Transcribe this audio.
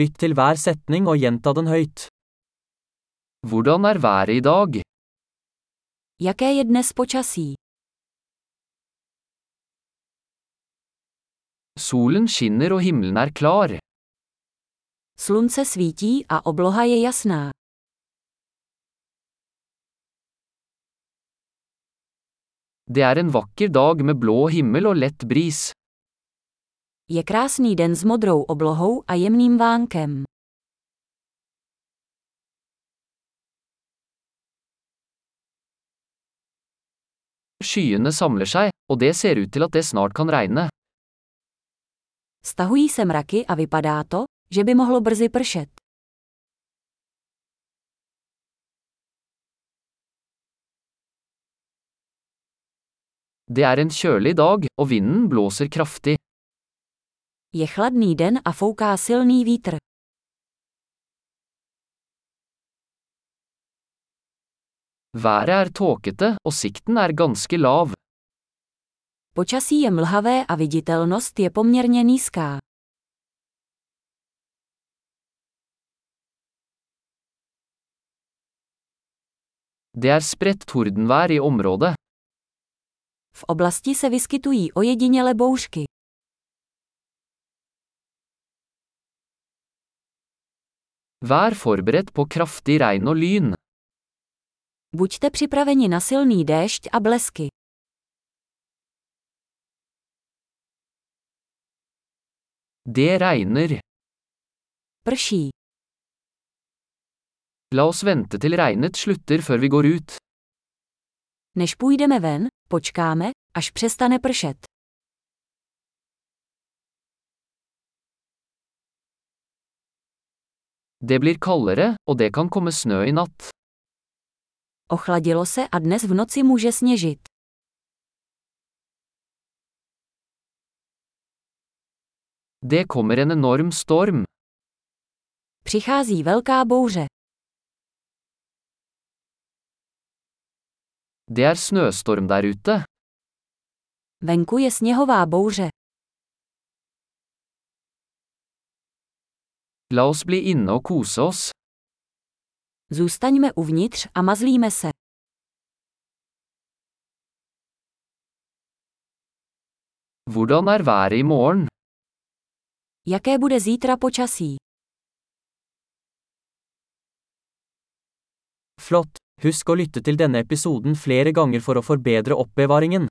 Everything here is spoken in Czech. Lytt til hver setning og gjenta den høyt. Hvordan er været i dag? Jaké je dnes počasí? Solen skinner og himmelen er klar. Slunce svítí a obloha je jasná. Det er en vakker dag med blå himmel og lett bris. Je krásný den s modrou oblohou a jemným vánkem. Skyene samler seg, og det ser ut til at det snart kan regne. Stahují se mraky a vypadá to, že by mohlo brzy pršet. Det er en kjølig dag, og vinden blåser kraftig. Je chladný den a fouká silný vítr. Været er tåkete, og sikten er ganske lav. Počasí je mlhavé a viditelnost je poměrně nízká. Det er spredt tordenvær i området. V oblasti se vyskytují ojediněle bouřky. Vær forberedt på kraftig regn og lyn. Buďte připraveni na silný déšť a blesky. Det regner. Prší. La oss vente til regnet slutter før vi går ut. Než půjdeme ven, počkáme, až přestane pršet. Det blir kaldere, og det kan komme snø i natt. Ochladilo se a dnes v noci může sněžit. Det kommer en enorm storm. Přichází velká bouře. Det er snøstorm der ute. Venku je sněhová bouře. La oss bli inne og kose oss. Zůstaňme uvnitř a mazlíme se. Hvordan er været i morgen? Jaké bude zítra počasí? Flott! Husk å lytte til denne episoden flere ganger for å forbedre oppbevaringen.